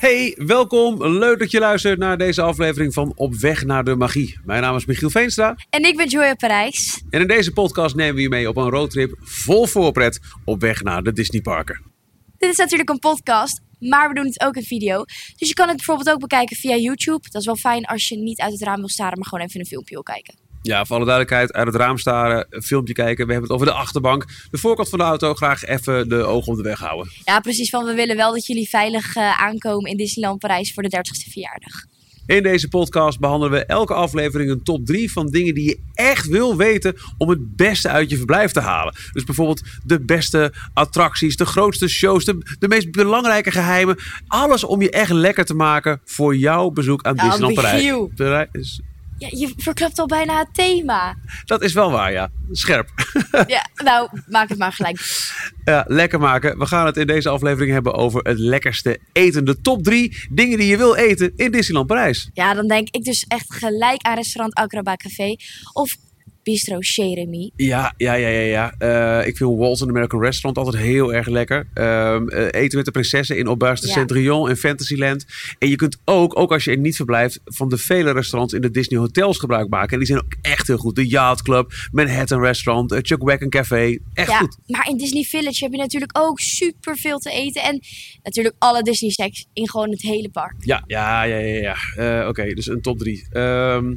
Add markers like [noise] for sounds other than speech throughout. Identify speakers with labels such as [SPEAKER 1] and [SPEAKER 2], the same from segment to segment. [SPEAKER 1] Hey, welkom. Leuk dat je luistert naar deze aflevering van Op Weg naar de Magie. Mijn naam is Michiel Veenstra
[SPEAKER 2] En ik ben Joya Parijs.
[SPEAKER 1] en in deze podcast nemen we je mee op een roadtrip vol voorpret op weg naar de Disneyparken.
[SPEAKER 2] Dit is natuurlijk een podcast, maar we doen het ook in video. Dus je kan het bijvoorbeeld ook bekijken via YouTube. Dat is wel fijn als je niet uit het raam wil staren, maar gewoon even een filmpje wil kijken.
[SPEAKER 1] Ja, voor alle duidelijkheid, uit het raam staren, een filmpje kijken. We hebben het over de achterbank, de voorkant van de auto. Graag even de ogen op de weg houden.
[SPEAKER 2] Ja, precies. Van we willen wel dat jullie veilig eh, aankomen in Disneyland Parijs voor de 30ste verjaardag.
[SPEAKER 1] In deze podcast behandelen we elke aflevering een top 3 van dingen die je echt wil weten om het beste uit je verblijf te halen. Dus bijvoorbeeld de beste attracties, de grootste shows, de, de meest belangrijke geheimen. Alles om je echt lekker te maken voor jouw bezoek aan
[SPEAKER 2] Ja,
[SPEAKER 1] Disneyland Parijs.
[SPEAKER 2] Michiel.
[SPEAKER 1] Parijs.
[SPEAKER 2] Ja, je verklapt al bijna het thema.
[SPEAKER 1] Dat is wel waar, ja. Scherp. [laughs]
[SPEAKER 2] Ja, nou, maak het maar gelijk.
[SPEAKER 1] Ja, lekker maken. We gaan het in deze aflevering hebben over het lekkerste eten. De top 3 dingen die je wil eten in Disneyland Parijs.
[SPEAKER 2] Ja, dan denk ik dus echt gelijk aan restaurant Acrobat Café of Bistro Jeremy.
[SPEAKER 1] Ja, ja, ja, ja. ja. Eh, ik vind Walt's in American Restaurant altijd heel erg lekker. Ehm, eh, eten met de prinsessen in Auberge de
[SPEAKER 2] Ja.
[SPEAKER 1] Centrion en Fantasyland. En je kunt ook, ook als je er niet verblijft, van de vele restaurants in de Disney hotels gebruik maken. En die zijn ook echt heel goed. De Yacht Club, Manhattan Restaurant, eh, Chuck Wagon Café. Echt
[SPEAKER 2] ja,
[SPEAKER 1] goed.
[SPEAKER 2] maar in Disney Village heb je natuurlijk ook super veel te eten. En natuurlijk alle Disney snacks in gewoon het hele park.
[SPEAKER 1] Ja, ja, ja, ja. ja. Eh, Oké, dus een top drie. Ehm,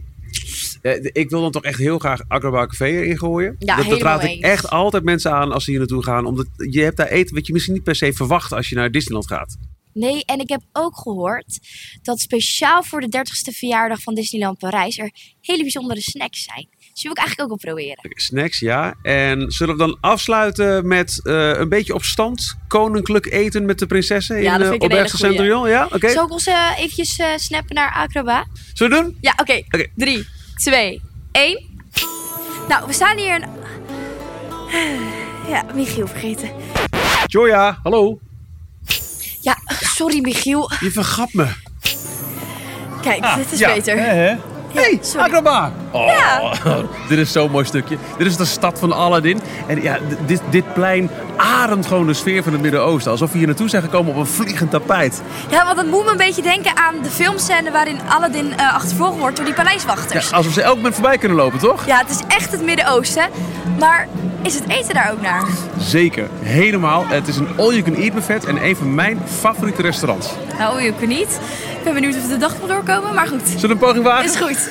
[SPEAKER 1] eh, de- ik wil dan toch echt heel graag Acrobat Café erin gooien.
[SPEAKER 2] Ja,
[SPEAKER 1] dat, dat
[SPEAKER 2] helemaal
[SPEAKER 1] raad ik
[SPEAKER 2] eens.
[SPEAKER 1] echt altijd mensen aan als ze hier naartoe gaan. Omdat je hebt daar eten wat je misschien niet per se verwacht als je naar Disneyland gaat.
[SPEAKER 2] Nee, en ik heb ook gehoord dat speciaal voor de 30ste verjaardag van Disneyland Parijs er hele bijzondere snacks zijn. Dus die wil ik eigenlijk ook wel proberen.
[SPEAKER 1] Oké, Snacks, ja. En zullen we dan afsluiten met eh, een beetje op stand koninklijk eten met de prinsessen
[SPEAKER 2] Ja,
[SPEAKER 1] in
[SPEAKER 2] dat
[SPEAKER 1] eh,
[SPEAKER 2] vind ik een
[SPEAKER 1] Auberge
[SPEAKER 2] hele goeie.
[SPEAKER 1] Centurion? Ja, oké.
[SPEAKER 2] Zal ik ons eh, eventjes eh, snappen naar Acroba?
[SPEAKER 1] Zullen we doen?
[SPEAKER 2] Ja, oké.
[SPEAKER 1] Oké.
[SPEAKER 2] 3, 2, 1. Nou, we staan hier in... Ja, Michiel vergeten.
[SPEAKER 1] Joya, hallo.
[SPEAKER 2] Ja, sorry Michiel.
[SPEAKER 1] Je vergat me.
[SPEAKER 2] Kijk, dit is
[SPEAKER 1] Ah, ja.
[SPEAKER 2] beter.
[SPEAKER 1] Hé, hey,
[SPEAKER 2] sorry.
[SPEAKER 1] Agrabah. Oh, [laughs] dit is zo'n mooi stukje. Dit is de stad van Aladdin. En ja, d- dit, dit plein ademt gewoon de sfeer van het Midden-Oosten. Alsof we hier naartoe zijn gekomen op een vliegend tapijt.
[SPEAKER 2] Ja, want dat moet me een beetje denken aan de filmscène waarin Aladdin eh, achtervolgd wordt door die
[SPEAKER 1] Ja,
[SPEAKER 2] paleiswachters. Ja.
[SPEAKER 1] alsof ze elk moment voorbij kunnen lopen, toch?
[SPEAKER 2] het is echt het Midden-Oosten. Maar is het eten daar ook naar?
[SPEAKER 1] Zeker, helemaal. Het is een all-you-can-eat buffet en een van mijn favoriete restaurants.
[SPEAKER 2] Nou, je kunt niet. Ik ben benieuwd of we de dag wil doorkomen, maar goed.
[SPEAKER 1] Zullen we een poging wagen?
[SPEAKER 2] Is goed.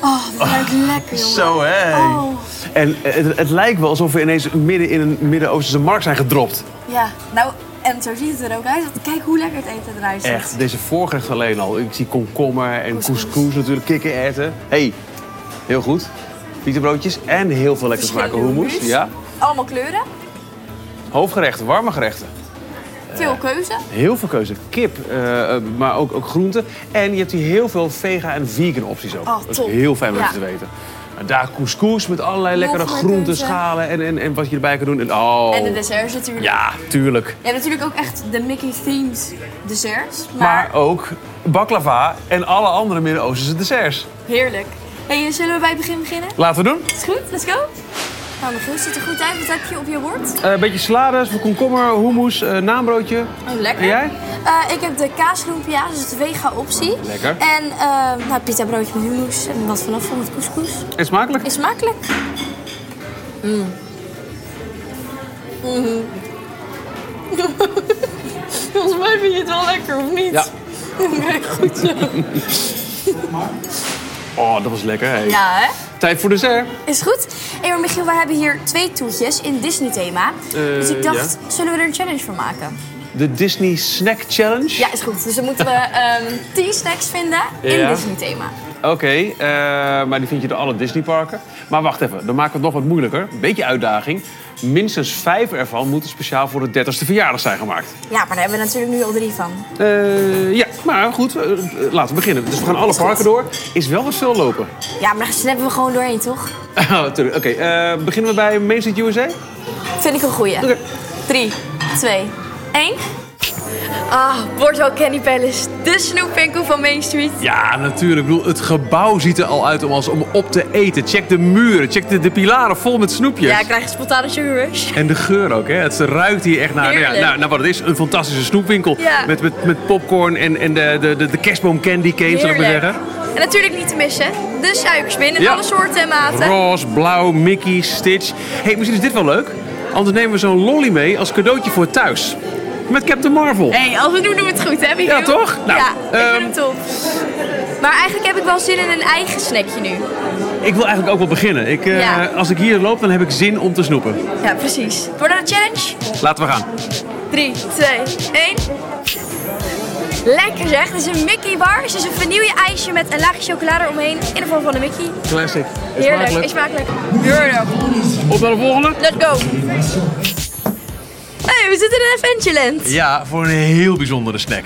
[SPEAKER 2] Oh, dat ruikt lekker, jongen.
[SPEAKER 1] Zo, hè.
[SPEAKER 2] Oh.
[SPEAKER 1] En het, het lijkt wel alsof we ineens midden in een Midden-Oosterse markt zijn gedropt.
[SPEAKER 2] Ja, nou, en zo ziet het er ook uit. Want Kijk hoe lekker het eten eruit ziet.
[SPEAKER 1] Echt, deze voorgerecht alleen al. Ik zie komkommer en
[SPEAKER 2] Couscous.
[SPEAKER 1] couscous natuurlijk, kikkererwten. hey, heel goed. Pieterbroodjes en heel veel lekkere smaken.
[SPEAKER 2] Verschillende
[SPEAKER 1] Hummus,
[SPEAKER 2] hummus.
[SPEAKER 1] ja.
[SPEAKER 2] Allemaal kleuren,
[SPEAKER 1] Hoofdgerechten, warme gerechten.
[SPEAKER 2] veel keuze.
[SPEAKER 1] Heel veel keuze. Kip, eh, eh, maar ook, ook groenten. En je hebt hier heel veel vega- en vegan opties ook.
[SPEAKER 2] Oh,
[SPEAKER 1] dat is
[SPEAKER 2] top.
[SPEAKER 1] heel fijn om
[SPEAKER 2] Ja.
[SPEAKER 1] te weten. En daar couscous met allerlei
[SPEAKER 2] Nog
[SPEAKER 1] lekkere
[SPEAKER 2] meer
[SPEAKER 1] groenten,
[SPEAKER 2] keuze.
[SPEAKER 1] schalen en, en, en wat je erbij kan doen. En, oh,
[SPEAKER 2] En de desserts natuurlijk.
[SPEAKER 1] ja, tuurlijk.
[SPEAKER 2] Je hebt natuurlijk ook echt de Mickey-themed desserts. maar
[SPEAKER 1] Maar ook baklava en alle andere Midden-Oosterse desserts.
[SPEAKER 2] Heerlijk. Hey, zullen we bij het begin beginnen?
[SPEAKER 1] Laten we doen.
[SPEAKER 2] Is goed? Let's go. Nou, mijn ziet er goed uit. Wat heb je op je bord?
[SPEAKER 1] Eh, Een beetje salades, komkommer, hummus, eh, naambroodje.
[SPEAKER 2] Oh, lekker.
[SPEAKER 1] En jij?
[SPEAKER 2] Eh, ik heb de kaasloempia, dus de vega optie.
[SPEAKER 1] Lekker.
[SPEAKER 2] En eh nou, pita broodje met hummus en wat vanaf van met couscous. [laughs]
[SPEAKER 1] En smakelijk?
[SPEAKER 2] Is smakelijk. Mm. Mhm. [laughs] Volgens mij vind je het wel lekker, of niet? [laughs]
[SPEAKER 1] Ja.
[SPEAKER 2] Oké, goed
[SPEAKER 1] [laughs]
[SPEAKER 2] zo.
[SPEAKER 1] Oh, dat was lekker. Hey.
[SPEAKER 2] Ja, hè?
[SPEAKER 1] Tijd voor dessert.
[SPEAKER 2] Is goed. Hé, maar Michiel, we hebben hier twee toetjes in Disney-thema.
[SPEAKER 1] Eh,
[SPEAKER 2] dus ik dacht, zullen we er een challenge van maken?
[SPEAKER 1] De Disney Snack Challenge.
[SPEAKER 2] Ja, is goed. Dus dan moeten
[SPEAKER 1] [laughs]
[SPEAKER 2] we ehm 10 snacks vinden in
[SPEAKER 1] Ja.
[SPEAKER 2] Disney-thema.
[SPEAKER 1] Oké, eh, maar die vind je door alle Disneyparken. Maar wacht even, dan maken we het nog wat moeilijker. Beetje uitdaging. Minstens vijf ervan moeten speciaal voor de 30ste verjaardag zijn gemaakt.
[SPEAKER 2] Ja, maar daar hebben we natuurlijk nu al drie van.
[SPEAKER 1] Eh, ja, maar goed, eh, eh, laten we beginnen. Dus we gaan alle parken door. Is wel wat veel lopen. [laughs]
[SPEAKER 2] Ja, maar daar snappen we gewoon doorheen, toch?
[SPEAKER 1] Oh, tuurlijk. Oké, eh, beginnen we bij Main Street USA?
[SPEAKER 2] Vind ik een goeie.
[SPEAKER 1] Oké.
[SPEAKER 2] 3, 2, 1. Ah, Bordeaux Candy Palace. De snoepwinkel van Main Street.
[SPEAKER 1] Ja, natuurlijk. Ik bedoel, het gebouw ziet er al uit om, als om op te eten. Check de muren, check de, de pilaren vol met snoepjes.
[SPEAKER 2] Ja, ik krijg een spontane sugar rush.
[SPEAKER 1] En de geur ook, hè? Het ruikt hier echt naar, nou ja,
[SPEAKER 2] Heerlijk.
[SPEAKER 1] naar, naar wat het is. Een fantastische snoepwinkel.
[SPEAKER 2] Ja.
[SPEAKER 1] Met, met, met popcorn en, en de, de, de, de kerstboom candy cane, zou ik maar
[SPEAKER 2] Heerlijk.
[SPEAKER 1] zeggen.
[SPEAKER 2] En natuurlijk niet te missen, de suikerspin in
[SPEAKER 1] Ja.
[SPEAKER 2] alle soorten en maten.
[SPEAKER 1] Roze, blauw, Mickey, Stitch. hey, misschien is dit wel leuk. Anders nemen we zo'n lolly mee als cadeautje voor thuis. Met Captain Marvel.
[SPEAKER 2] hey, als we het doen, doen we het goed, hè, Michiel?
[SPEAKER 1] Ja, toch? Nou,
[SPEAKER 2] ja, ik
[SPEAKER 1] ehm,
[SPEAKER 2] vind hem top. Maar eigenlijk heb ik wel zin in een eigen snackje nu.
[SPEAKER 1] Ik wil eigenlijk ook wel beginnen. Ik, eh,
[SPEAKER 2] Ja.
[SPEAKER 1] Als ik hier loop, dan heb ik zin om te snoepen.
[SPEAKER 2] Ja, precies. Wordt dat een challenge?
[SPEAKER 1] Laten we gaan.
[SPEAKER 2] 3, 2, 1. Lekker zeg, het is een Mickey bar. Het is een vernieuwde ijsje met een laagje chocolade omheen in de vorm van een Mickey.
[SPEAKER 1] Classic.
[SPEAKER 2] Heerlijk, is smakelijk. Heerlijk.
[SPEAKER 1] Op naar de volgende.
[SPEAKER 2] Let's go. hey, we zitten in Adventureland.
[SPEAKER 1] Ja, voor een heel bijzondere snack.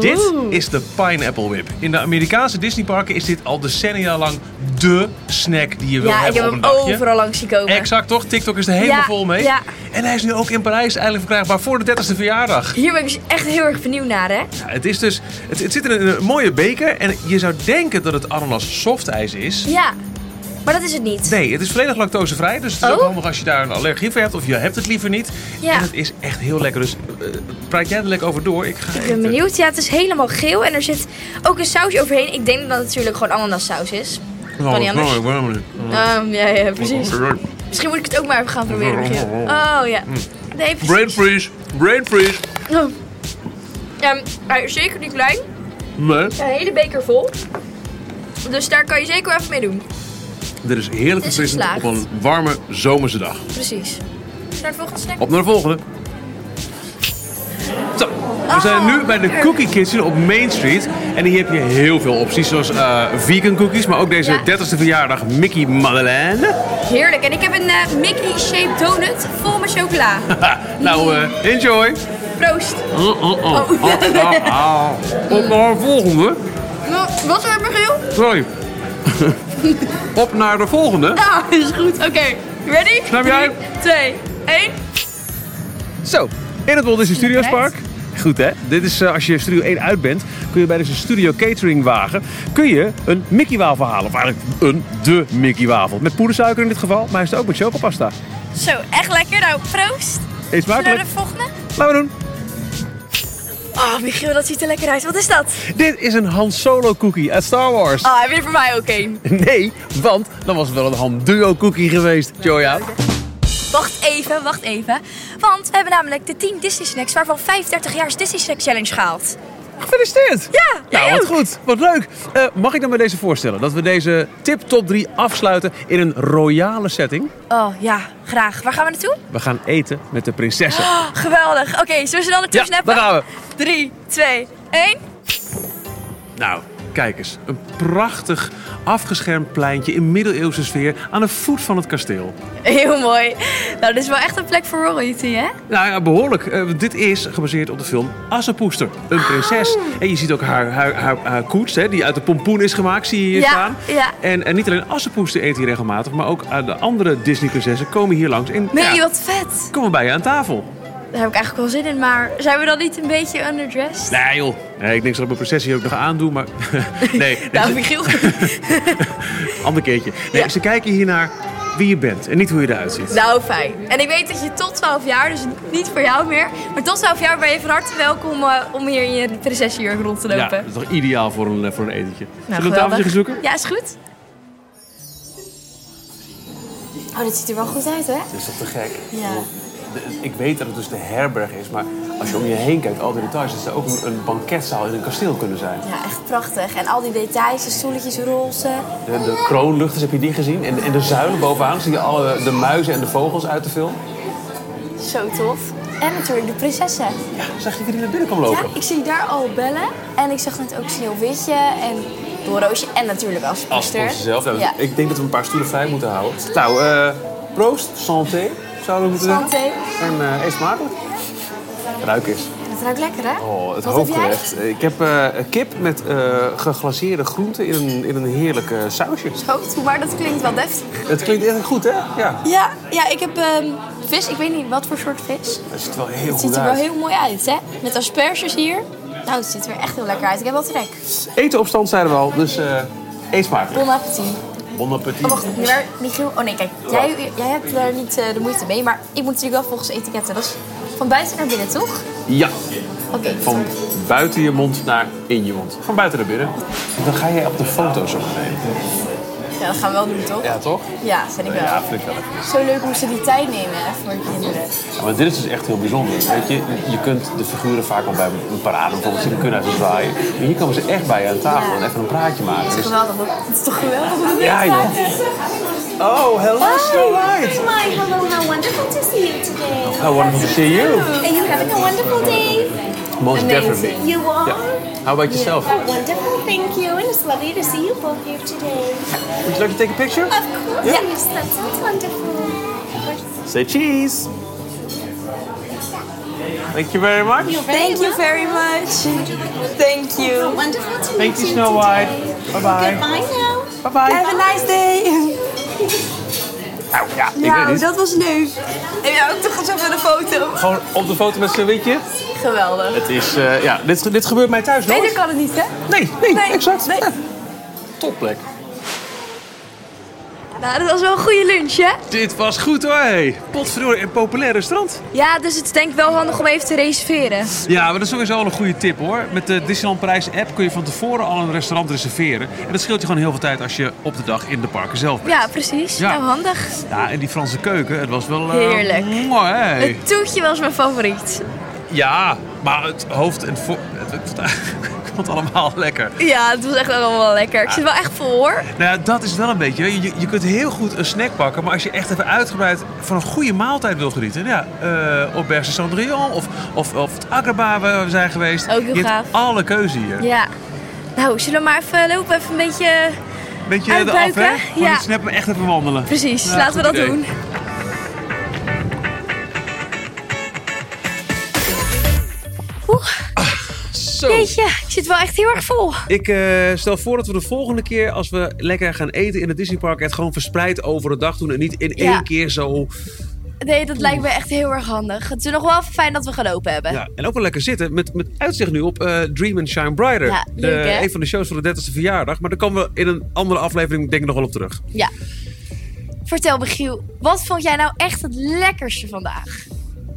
[SPEAKER 1] Dit is de Pineapple Whip. In de Amerikaanse Disneyparken is dit al decennia lang dé snack die je wil
[SPEAKER 2] Ja, ik
[SPEAKER 1] hebben
[SPEAKER 2] heb
[SPEAKER 1] op een
[SPEAKER 2] hem
[SPEAKER 1] dagje.
[SPEAKER 2] overal langs zien komen.
[SPEAKER 1] Exact, toch? TikTok is er helemaal
[SPEAKER 2] Ja,
[SPEAKER 1] vol mee.
[SPEAKER 2] ja.
[SPEAKER 1] En hij is nu ook in Parijs eindelijk verkrijgbaar voor de 30ste verjaardag.
[SPEAKER 2] Hier ben ik dus echt heel erg benieuwd naar, hè?
[SPEAKER 1] Ja, het, is dus, het, het zit in een, een mooie beker en je zou denken dat het ananas softijs is.
[SPEAKER 2] Ja, maar dat is het niet.
[SPEAKER 1] Nee, het is volledig lactosevrij, dus het is ook
[SPEAKER 2] Oh.
[SPEAKER 1] handig als je daar een allergie voor hebt of je hebt het liever niet.
[SPEAKER 2] Ja.
[SPEAKER 1] En het is echt heel lekker, dus eh, praat jij er lekker over door. Ik ga
[SPEAKER 2] Ik ben benieuwd. Ja, het is helemaal geel en er zit ook een saus overheen. Ik denk dat het natuurlijk gewoon ananassaus is.
[SPEAKER 1] Nou, Oh,
[SPEAKER 2] Kan niet anders. Ehm, ja, ja, precies. Misschien moet ik het ook maar even gaan proberen. Michiel. Oh ja.
[SPEAKER 1] Mm.
[SPEAKER 2] Nee, precies.
[SPEAKER 1] Brain freeze, brain freeze.
[SPEAKER 2] Oh. Ehm, hij is zeker niet klein.
[SPEAKER 1] Nee.
[SPEAKER 2] Een hele beker vol. Dus daar kan je zeker wel even mee doen.
[SPEAKER 1] Dit is heerlijk
[SPEAKER 2] Het is
[SPEAKER 1] verfrissend op
[SPEAKER 2] geslaagd.
[SPEAKER 1] een warme zomerse dag.
[SPEAKER 2] Precies. Naar de volgende snack.
[SPEAKER 1] Op naar de volgende. Zo,
[SPEAKER 2] Oh,
[SPEAKER 1] we zijn nu bij de Cookie Kitchen op Main Street. En hier heb je heel veel opties, zoals eh, vegan cookies, maar ook deze
[SPEAKER 2] Ja.
[SPEAKER 1] 30ste verjaardag Mickey Madeleine.
[SPEAKER 2] Heerlijk. En ik heb een eh, Mickey-shaped donut vol met
[SPEAKER 1] [laughs]
[SPEAKER 2] chocola.
[SPEAKER 1] nou, eh, enjoy.
[SPEAKER 2] Proost.
[SPEAKER 1] Oh, oh, oh.
[SPEAKER 2] Oh.
[SPEAKER 1] Oh, oh, oh. Op naar de volgende.
[SPEAKER 2] Nou, Wat er, Michiel? [laughs]
[SPEAKER 1] Sorry. Op naar de volgende.
[SPEAKER 2] Ah, is goed. Oké. Ready?
[SPEAKER 1] Snap jij?
[SPEAKER 2] 2, 1.
[SPEAKER 1] Zo, in het Walt Disney Studios Park.
[SPEAKER 2] Correct.
[SPEAKER 1] Goed hè? Dit is eh, als je Studio 1 uit bent, kun je bij deze Studio Catering wagen kun je een Mickey wafel halen. Of eigenlijk een de Mickey wafel. Met poedersuiker in dit geval, maar hij is het ook met chocopasta.
[SPEAKER 2] Zo, echt lekker. Nou, proost.
[SPEAKER 1] Eet
[SPEAKER 2] Naar
[SPEAKER 1] smakelijk.
[SPEAKER 2] de volgende.
[SPEAKER 1] Laten we doen.
[SPEAKER 2] Oh, Michiel, dat ziet er lekker uit. Wat is dat?
[SPEAKER 1] Dit is een Han Solo cookie uit Star Wars.
[SPEAKER 2] Ah, heb je er voor mij ook
[SPEAKER 1] [laughs]
[SPEAKER 2] één?
[SPEAKER 1] Nee, want dan was het wel een Han Duo cookie geweest, Joya.
[SPEAKER 2] Wacht even, wacht even. Want we hebben namelijk de 10 Disney Snacks waarvan 35 jaar Disney Snack Challenge gehaald.
[SPEAKER 1] Gefeliciteerd!
[SPEAKER 2] Ja, jij
[SPEAKER 1] Nou, wat
[SPEAKER 2] ook.
[SPEAKER 1] goed. Wat leuk. Eh, mag ik dan bij deze voorstellen dat we deze tip top 3 afsluiten in een royale setting?
[SPEAKER 2] Oh ja, graag. Waar gaan we naartoe?
[SPEAKER 1] We gaan eten met de prinsessen.
[SPEAKER 2] Oh, geweldig. Oké, zullen we ze dan naartoe
[SPEAKER 1] Ja,
[SPEAKER 2] snappen?
[SPEAKER 1] daar gaan we.
[SPEAKER 2] 3, 2, 1.
[SPEAKER 1] Nou, kijk eens. Een prachtig afgeschermd pleintje in middeleeuwse sfeer aan de voet van het kasteel.
[SPEAKER 2] Heel mooi. Nou, dit is wel echt een plek voor royalty, hè?
[SPEAKER 1] Nou ja, behoorlijk. Eh, want dit is gebaseerd op de film Assepoester. Een prinses.
[SPEAKER 2] Oh.
[SPEAKER 1] En je ziet ook haar, haar, haar, haar koets, hè, die uit de pompoen is gemaakt, zie je hier
[SPEAKER 2] Ja,
[SPEAKER 1] staan.
[SPEAKER 2] ja.
[SPEAKER 1] En, en niet alleen Assepoester eet hier regelmatig, maar ook eh, de andere Disney-prinsessen komen hier langs. En
[SPEAKER 2] Nee,
[SPEAKER 1] ja,
[SPEAKER 2] wat vet.
[SPEAKER 1] komen bij je aan tafel.
[SPEAKER 2] Daar heb ik eigenlijk wel zin in, maar zijn we dan niet een beetje underdressed?
[SPEAKER 1] Nee joh. Nee, ik denk dat ik mijn prinses hier ook nog aandoe, maar... [laughs]
[SPEAKER 2] [laughs]
[SPEAKER 1] nee,
[SPEAKER 2] Nou, Michiel.
[SPEAKER 1] ander keertje. Nee,
[SPEAKER 2] Ja.
[SPEAKER 1] ze kijken hier naar wie je bent en niet hoe je eruit ziet.
[SPEAKER 2] nou, fijn. En ik weet dat je tot 12 jaar, dus niet voor jou meer, maar tot 12 jaar ben je van harte welkom eh, om hier in je prinsessenjurk rond te
[SPEAKER 1] Ja,
[SPEAKER 2] lopen.
[SPEAKER 1] dat is toch ideaal voor een, eh, voor een etentje.
[SPEAKER 2] Nou,
[SPEAKER 1] Zullen we een tafeltje gaan zoeken?
[SPEAKER 2] Ja, is goed. Oh, dit ziet er wel goed uit, hè?
[SPEAKER 1] Is dat te gek?
[SPEAKER 2] Ja.
[SPEAKER 1] De- Ik weet dat het dus de herberg is, maar als je om je heen kijkt, al die details, is er ook een, een banketzaal in een kasteel kunnen zijn.
[SPEAKER 2] Ja, echt prachtig. En al die details, de stoeltjes, roze.
[SPEAKER 1] De, de kroonluchters, heb je die gezien? En, en de zuilen bovenaan zie je alle de muizen en de vogels uit de film.
[SPEAKER 2] Zo tof. En natuurlijk de prinsessen.
[SPEAKER 1] Ja, zag je wie die naar binnen kwam
[SPEAKER 2] Ja,
[SPEAKER 1] lopen?
[SPEAKER 2] ik zie daar al bellen. En ik zag net ook Sneeuwwitje en Doorroosje. En natuurlijk als
[SPEAKER 1] Als
[SPEAKER 2] poester.
[SPEAKER 1] zelf. nou, dus
[SPEAKER 2] Ja.
[SPEAKER 1] Ik denk dat we een paar stoelen vrij moeten houden. Nou, eh proost, santé, zouden we moeten zeggen.
[SPEAKER 2] Santé.
[SPEAKER 1] En eh, eet smakelijk. Ruik eens.
[SPEAKER 2] Dat ruikt lekker, hè?
[SPEAKER 1] Oh, het
[SPEAKER 2] Wat heb jij?
[SPEAKER 1] hoofdgerecht. Ik heb eh, kip met eh geglaceerde groenten in een, in een heerlijk eh, sausje.
[SPEAKER 2] Hoofd, maar dat klinkt wel deftig.
[SPEAKER 1] Het klinkt echt goed, hè? Ja.
[SPEAKER 2] Ja, ja ik heb ehm, vis. Ik weet niet wat voor soort vis.
[SPEAKER 3] Dat ziet er wel heel
[SPEAKER 2] Het
[SPEAKER 3] goed
[SPEAKER 2] ziet er wel
[SPEAKER 3] uit.
[SPEAKER 2] heel mooi uit, hè? Met asperges hier. Nou, het ziet er echt heel lekker uit. Ik heb wel trek.
[SPEAKER 1] Eten op stand zeiden we al, dus eh eet smakelijk.
[SPEAKER 2] Bon appetit.
[SPEAKER 3] Bon
[SPEAKER 2] Oh,
[SPEAKER 3] appetit.
[SPEAKER 2] wacht. Maar Michiel... Oh nee, kijk. Jij, jij hebt daar niet eh, de moeite mee. Maar ik moet natuurlijk wel volgens etiketten. Dat is van buiten naar binnen, toch?
[SPEAKER 1] Ja,
[SPEAKER 2] Oké.
[SPEAKER 1] van buiten je mond naar in je mond. Van buiten naar binnen. Dan ga jij op de foto zo meteen.
[SPEAKER 2] Ja, dat gaan we wel doen, toch?
[SPEAKER 1] Ja, toch?
[SPEAKER 2] Ja, vind ik wel.
[SPEAKER 1] Ja, vind ik wel. even.
[SPEAKER 2] Zo leuk hoe ze die tijd nemen hè, voor kinderen.
[SPEAKER 1] Ja, Maar dit is dus echt heel bijzonder. Weet je, je kunt de figuren vaak al bij een parade bijvoorbeeld zien, die kunnen even zwaaien. Maar hier komen ze echt bij je aan tafel en even een praatje maken.
[SPEAKER 2] Het is
[SPEAKER 1] Dus-
[SPEAKER 2] geweldig. hoor. Het is toch geweldig? [laughs]
[SPEAKER 1] Ja, joh. Oh, hello, Snow White.
[SPEAKER 4] Hi, hello, how wonderful to see you today.
[SPEAKER 1] How wonderful to see you.
[SPEAKER 4] Are you having a wonderful day?
[SPEAKER 1] Most definitely.
[SPEAKER 4] You are?
[SPEAKER 1] Yeah. How about yourself?
[SPEAKER 4] Wonderful, thank you. And it's lovely to see you both here today.
[SPEAKER 1] Would you like to take a picture?
[SPEAKER 4] Of course, yes, that sounds wonderful.
[SPEAKER 1] Say cheese. Thank you very much.
[SPEAKER 5] Thank you very much. Thank you.
[SPEAKER 4] Wonderful to
[SPEAKER 1] Thank
[SPEAKER 4] meet
[SPEAKER 1] you,
[SPEAKER 4] you
[SPEAKER 1] Snow White.
[SPEAKER 4] today.
[SPEAKER 1] Bye-bye.
[SPEAKER 4] Goodbye now.
[SPEAKER 1] Bye-bye.
[SPEAKER 5] Have a nice day.
[SPEAKER 1] Nou ja, ik weet
[SPEAKER 5] Nou,
[SPEAKER 1] niet.
[SPEAKER 5] dat was leuk. Heb jij ook toch eens even een foto?
[SPEAKER 1] Gewoon op de foto met zijn witje.
[SPEAKER 2] Geweldig.
[SPEAKER 1] Het is, eh, ja, dit, dit gebeurt mij thuis
[SPEAKER 2] Nee,
[SPEAKER 1] nooit.
[SPEAKER 2] dat kan het niet, hè?
[SPEAKER 1] Nee, nee,
[SPEAKER 2] Nee,
[SPEAKER 1] exact.
[SPEAKER 2] nee.
[SPEAKER 1] Ja. [laughs] Topplek.
[SPEAKER 2] Nou, dat was wel een goede lunch, hè?
[SPEAKER 1] Dit was goed hoor, hey. Potverdorie, een populair restaurant.
[SPEAKER 2] Ja, dus het is denk ik wel handig om even te reserveren.
[SPEAKER 1] Ja, maar dat is sowieso al een goede tip hoor. Met de Disneyland Parijs app kun je van tevoren al een restaurant reserveren. En dat scheelt je gewoon heel veel tijd als je op de dag in de parken zelf bent.
[SPEAKER 2] Ja, precies.
[SPEAKER 1] Ja.
[SPEAKER 2] Nou, handig.
[SPEAKER 1] Ja, en die Franse keuken, het was wel... eh,
[SPEAKER 2] Heerlijk.
[SPEAKER 1] Mooi, hey.
[SPEAKER 2] Het toetje was mijn favoriet.
[SPEAKER 1] Ja, maar het hoofd en voor... Het, het, het [laughs] komt allemaal lekker.
[SPEAKER 2] Ja, het was echt allemaal wel lekker. Ik zit wel echt vol, hoor.
[SPEAKER 1] Nou ja, dat is wel een beetje. Je, je kunt heel goed een snack pakken, maar als je echt even uitgebreid van een goede maaltijd wil genieten. Ja, eh op Berge Cendrillon of, of, of het Agrabah waar we zijn geweest.
[SPEAKER 2] Ook heel
[SPEAKER 1] je
[SPEAKER 2] gaaf.
[SPEAKER 1] hebt alle keuze hier.
[SPEAKER 2] Ja. Nou, zullen we maar even lopen, even een beetje...
[SPEAKER 1] Beetje
[SPEAKER 2] Uitbuiken,
[SPEAKER 1] de af, hè? Gewoon
[SPEAKER 2] ja.
[SPEAKER 1] niet snappen, echt even wandelen.
[SPEAKER 2] Precies,
[SPEAKER 1] Ja,
[SPEAKER 2] laten we dat
[SPEAKER 1] goed idee.
[SPEAKER 2] doen. Oeh,
[SPEAKER 1] Zo.
[SPEAKER 2] jeetje, ik zit wel echt heel erg vol.
[SPEAKER 1] Ik eh, stel voor dat we de volgende keer, als we lekker gaan eten in het Disneypark, het gewoon verspreid over de dag doen. En niet in
[SPEAKER 2] Ja.
[SPEAKER 1] één keer zo.
[SPEAKER 2] Nee, dat lijkt me echt heel erg handig. Het is nog wel even fijn dat we gelopen hebben.
[SPEAKER 1] Ja, en ook wel lekker zitten. Met, met uitzicht nu op eh, Dream and Shine Brighter.
[SPEAKER 2] Ja,
[SPEAKER 1] De-
[SPEAKER 2] leuk, hè?
[SPEAKER 1] een van de shows van de 30e verjaardag. Maar daar komen we in een andere aflevering denk ik nog wel op terug.
[SPEAKER 2] Ja. Vertel me, Giel, wat vond jij nou echt het lekkerste vandaag?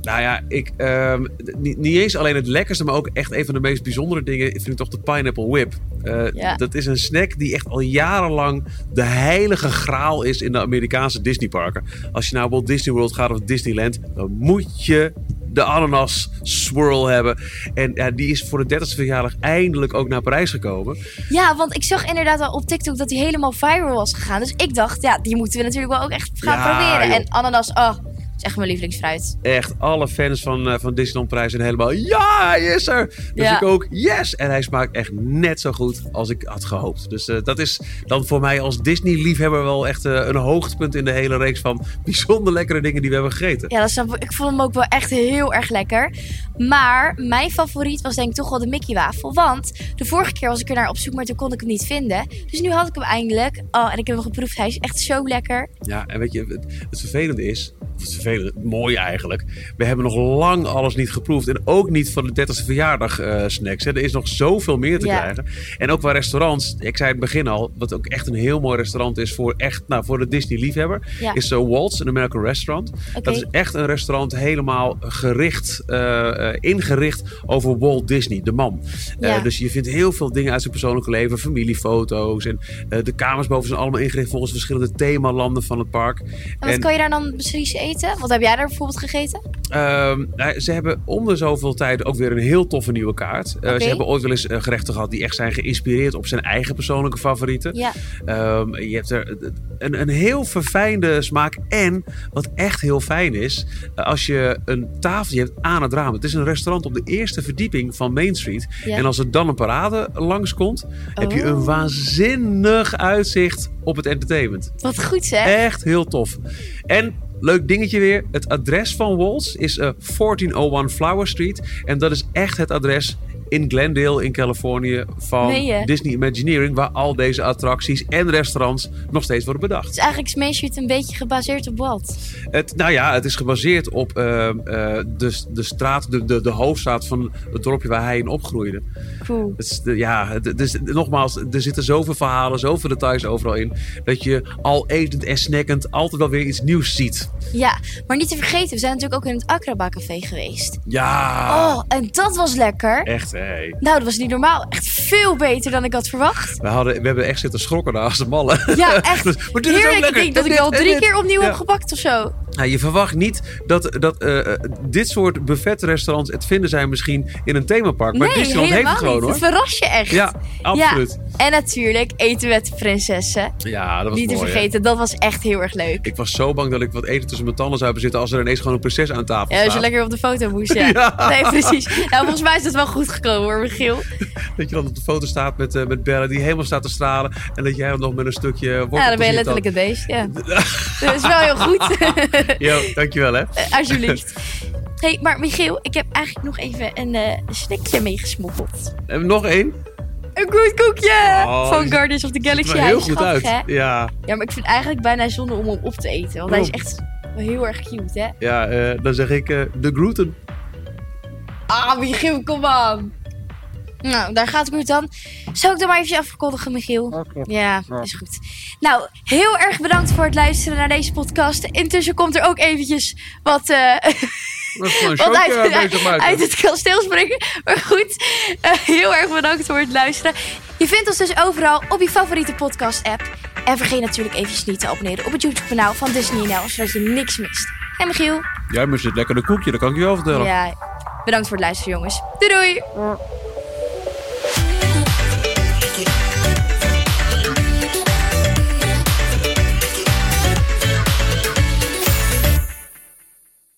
[SPEAKER 1] Nou ja, ik, ehm, d- niet, niet eens alleen het lekkerste, maar ook echt een van de meest bijzondere dingen vind ik toch de Pineapple Whip. Eh,
[SPEAKER 2] Ja.
[SPEAKER 1] Dat is een snack die echt al jarenlang de heilige graal is in de Amerikaanse Disneyparken. Als je naar Walt Disney World gaat of Disneyland, dan moet je de ananas swirl hebben. En ja, die is voor de 30ste verjaardag eindelijk ook naar Parijs gekomen.
[SPEAKER 2] Ja, want ik zag inderdaad al op TikTok dat hij helemaal viral was gegaan. Dus ik dacht, ja, die moeten we natuurlijk wel ook echt gaan
[SPEAKER 1] Ja,
[SPEAKER 2] proberen.
[SPEAKER 1] joh.
[SPEAKER 2] En ananas, oh, dat is echt mijn lievelingsfruit.
[SPEAKER 1] Echt, alle fans van, eh, van Disneyland Parijs zijn helemaal... Ja, hij is er! Dus
[SPEAKER 2] Ja.
[SPEAKER 1] ik ook, yes! En hij smaakt echt net zo goed als ik had gehoopt. Dus eh, dat is dan voor mij als Disney-liefhebber wel echt eh, een hoogtepunt... in de hele reeks van [laughs] bijzonder lekkere dingen die we hebben gegeten.
[SPEAKER 2] Ja, dat snap ik. Ik vond hem ook wel echt heel erg lekker. Maar mijn favoriet was denk ik toch wel de Mickey wafel. Want de vorige keer was ik er naar op zoek, maar toen kon ik hem niet vinden. Dus nu had ik hem eindelijk. Oh, en ik heb hem geproefd. Hij is echt zo lekker.
[SPEAKER 1] Ja, en weet je, het, het vervelende is... Of het vervelende, het mooie eigenlijk. We hebben nog lang alles niet geproefd. En ook niet van de 30ste verjaardag eh, snacks. Hè. Er is nog zoveel meer te
[SPEAKER 2] Ja.
[SPEAKER 1] krijgen. En ook qua restaurants. Ik zei in het begin al, wat ook echt een heel mooi restaurant is voor, echt, nou, voor de Disney-liefhebber.
[SPEAKER 2] Ja.
[SPEAKER 1] Is zo Waltz, een American restaurant. Dat is echt een restaurant helemaal gericht, eh, eh, ingericht over Walt Disney, de man. Eh,
[SPEAKER 2] Ja.
[SPEAKER 1] dus je vindt heel veel dingen uit zijn persoonlijke leven. Familiefoto's en eh, de kamers boven zijn allemaal ingericht volgens verschillende themalanden van het park.
[SPEAKER 2] En wat kan je daar dan precies eten? Wat heb jij daar bijvoorbeeld gegeten?
[SPEAKER 1] Ehm, nou, ze hebben om de zoveel tijd ook weer een heel toffe nieuwe kaart. Eh,
[SPEAKER 2] Oké.
[SPEAKER 1] Ze hebben ooit wel eens eh, gerechten gehad die echt zijn geïnspireerd op zijn eigen persoonlijke favorieten.
[SPEAKER 2] Ja.
[SPEAKER 1] Ehm, je hebt er een, een heel verfijnde smaak. En wat echt heel fijn is, eh, als je een tafeltje hebt aan het raam. Het is een restaurant op de eerste verdieping van Main Street.
[SPEAKER 2] Ja.
[SPEAKER 1] En als er dan een parade langskomt, heb je
[SPEAKER 2] Oh.
[SPEAKER 1] een waanzinnig uitzicht op het entertainment.
[SPEAKER 2] Wat goed zeg.
[SPEAKER 1] Echt heel tof. En leuk dingetje weer. oh Het adres van Walls is eh, 1401 Flower Street. En dat is echt het adres in Glendale in Californië van
[SPEAKER 6] Meen je?
[SPEAKER 1] Disney Imagineering, waar al deze attracties en restaurants nog steeds worden
[SPEAKER 2] is
[SPEAKER 1] bedacht.
[SPEAKER 2] Dus eigenlijk Main Street een beetje gebaseerd op wat?
[SPEAKER 1] Het, nou ja, het is gebaseerd op eh, eh, de, de straat, de, de, de hoofdstraat van het dorpje waar hij in opgroeide.
[SPEAKER 2] Cool.
[SPEAKER 1] Het is de- ja, het- het is- nogmaals, er zitten zoveel verhalen, zoveel details overal in. Dat je al etend en snackend altijd wel weer iets nieuws ziet.
[SPEAKER 2] Ja, maar niet te vergeten, we zijn natuurlijk ook in het Akraba Café geweest.
[SPEAKER 1] Ja,
[SPEAKER 2] Oh, en dat was lekker.
[SPEAKER 1] echt hé.
[SPEAKER 2] Nou, dat was niet normaal. Echt veel beter dan ik had verwacht.
[SPEAKER 1] We, hadden, we hebben echt zitten schrokken naast de mallen. [laughs]
[SPEAKER 2] Ja, echt.
[SPEAKER 1] Dus, maar dit is ook
[SPEAKER 2] Heerlijk. Ik
[SPEAKER 1] lekker.
[SPEAKER 2] denk dat
[SPEAKER 1] En
[SPEAKER 2] ik al
[SPEAKER 1] dit, en
[SPEAKER 2] drie
[SPEAKER 1] dit.
[SPEAKER 2] keer opnieuw
[SPEAKER 1] Ja.
[SPEAKER 2] heb gepakt of zo.
[SPEAKER 1] Nou, je verwacht niet dat, dat eh, eh, dit soort buffetrestaurants het vinden zijn misschien in een themapark. Maar
[SPEAKER 2] nee,
[SPEAKER 1] Disneyland heeft
[SPEAKER 2] helemaal
[SPEAKER 1] het gewoon
[SPEAKER 2] niet.
[SPEAKER 1] hoor.
[SPEAKER 2] Het verrast je echt.
[SPEAKER 1] Ja, absoluut.
[SPEAKER 2] Ja, En natuurlijk eten met de prinsessen.
[SPEAKER 1] Ja, dat was
[SPEAKER 2] Niet te
[SPEAKER 1] mooi, hè.
[SPEAKER 2] vergeten, dat was echt heel erg leuk.
[SPEAKER 1] Ik was zo bang dat ik wat eten tussen mijn tanden zou hebben zitten als er ineens gewoon een prinses aan tafel
[SPEAKER 2] Ja, als je
[SPEAKER 1] staat.
[SPEAKER 2] lekker op de foto moest,
[SPEAKER 1] [laughs]
[SPEAKER 2] ja. Nee, precies. Nou, volgens mij is dat wel goed gekomen hoor, Michiel.
[SPEAKER 1] Dat je dan op de foto staat met, eh, met Bella die helemaal staat te stralen. En dat jij hem nog met een stukje wortel
[SPEAKER 2] Ja, dan ben je letterlijk het beest,
[SPEAKER 1] [laughs]
[SPEAKER 2] ja. Dat is wel heel goed.
[SPEAKER 1] Jo, dankjewel hè.
[SPEAKER 2] Eh, [laughs] Alsjeblieft. hey, maar Michiel, ik heb eigenlijk nog even een eh snackje meegesmokkeld.
[SPEAKER 1] En nog één.
[SPEAKER 2] Een goed koekje
[SPEAKER 1] Oh, die
[SPEAKER 2] van
[SPEAKER 1] ziet-
[SPEAKER 2] Guardians of the
[SPEAKER 1] Ziet
[SPEAKER 2] Galaxy.
[SPEAKER 1] er wel
[SPEAKER 2] Hij
[SPEAKER 1] heel
[SPEAKER 2] is
[SPEAKER 1] goed uit.
[SPEAKER 2] grappig, hè?
[SPEAKER 1] Ja,
[SPEAKER 2] Ja, maar ik vind het eigenlijk bijna zonde om hem op te eten. Want hij is echt wel heel erg cute, hè?
[SPEAKER 1] ja eh, dan zeg ik eh, de Groeten.
[SPEAKER 2] Ah, Michiel, kom aan. Nou, daar gaat het dan. Zou ik dan maar even afkondigen, Michiel? Ja, is goed. Nou, heel erg bedankt voor het luisteren naar deze podcast. Intussen komt er ook eventjes wat, eh,
[SPEAKER 1] Dat is gewoon
[SPEAKER 2] wat
[SPEAKER 1] een showtje aan
[SPEAKER 2] uit,
[SPEAKER 1] bezig maken.
[SPEAKER 2] uit het kasteel springen. Maar goed, eh, heel erg bedankt voor het luisteren. Je vindt ons dus overal op je favoriete podcast-app. En vergeet natuurlijk eventjes niet te abonneren op het YouTube-kanaal van Disney NL, zodat je niks mist. En Michiel?
[SPEAKER 1] Jij mist het lekkere koekje, dat kan ik je wel vertellen.
[SPEAKER 2] Ja, bedankt voor het luisteren, jongens. Doei doei!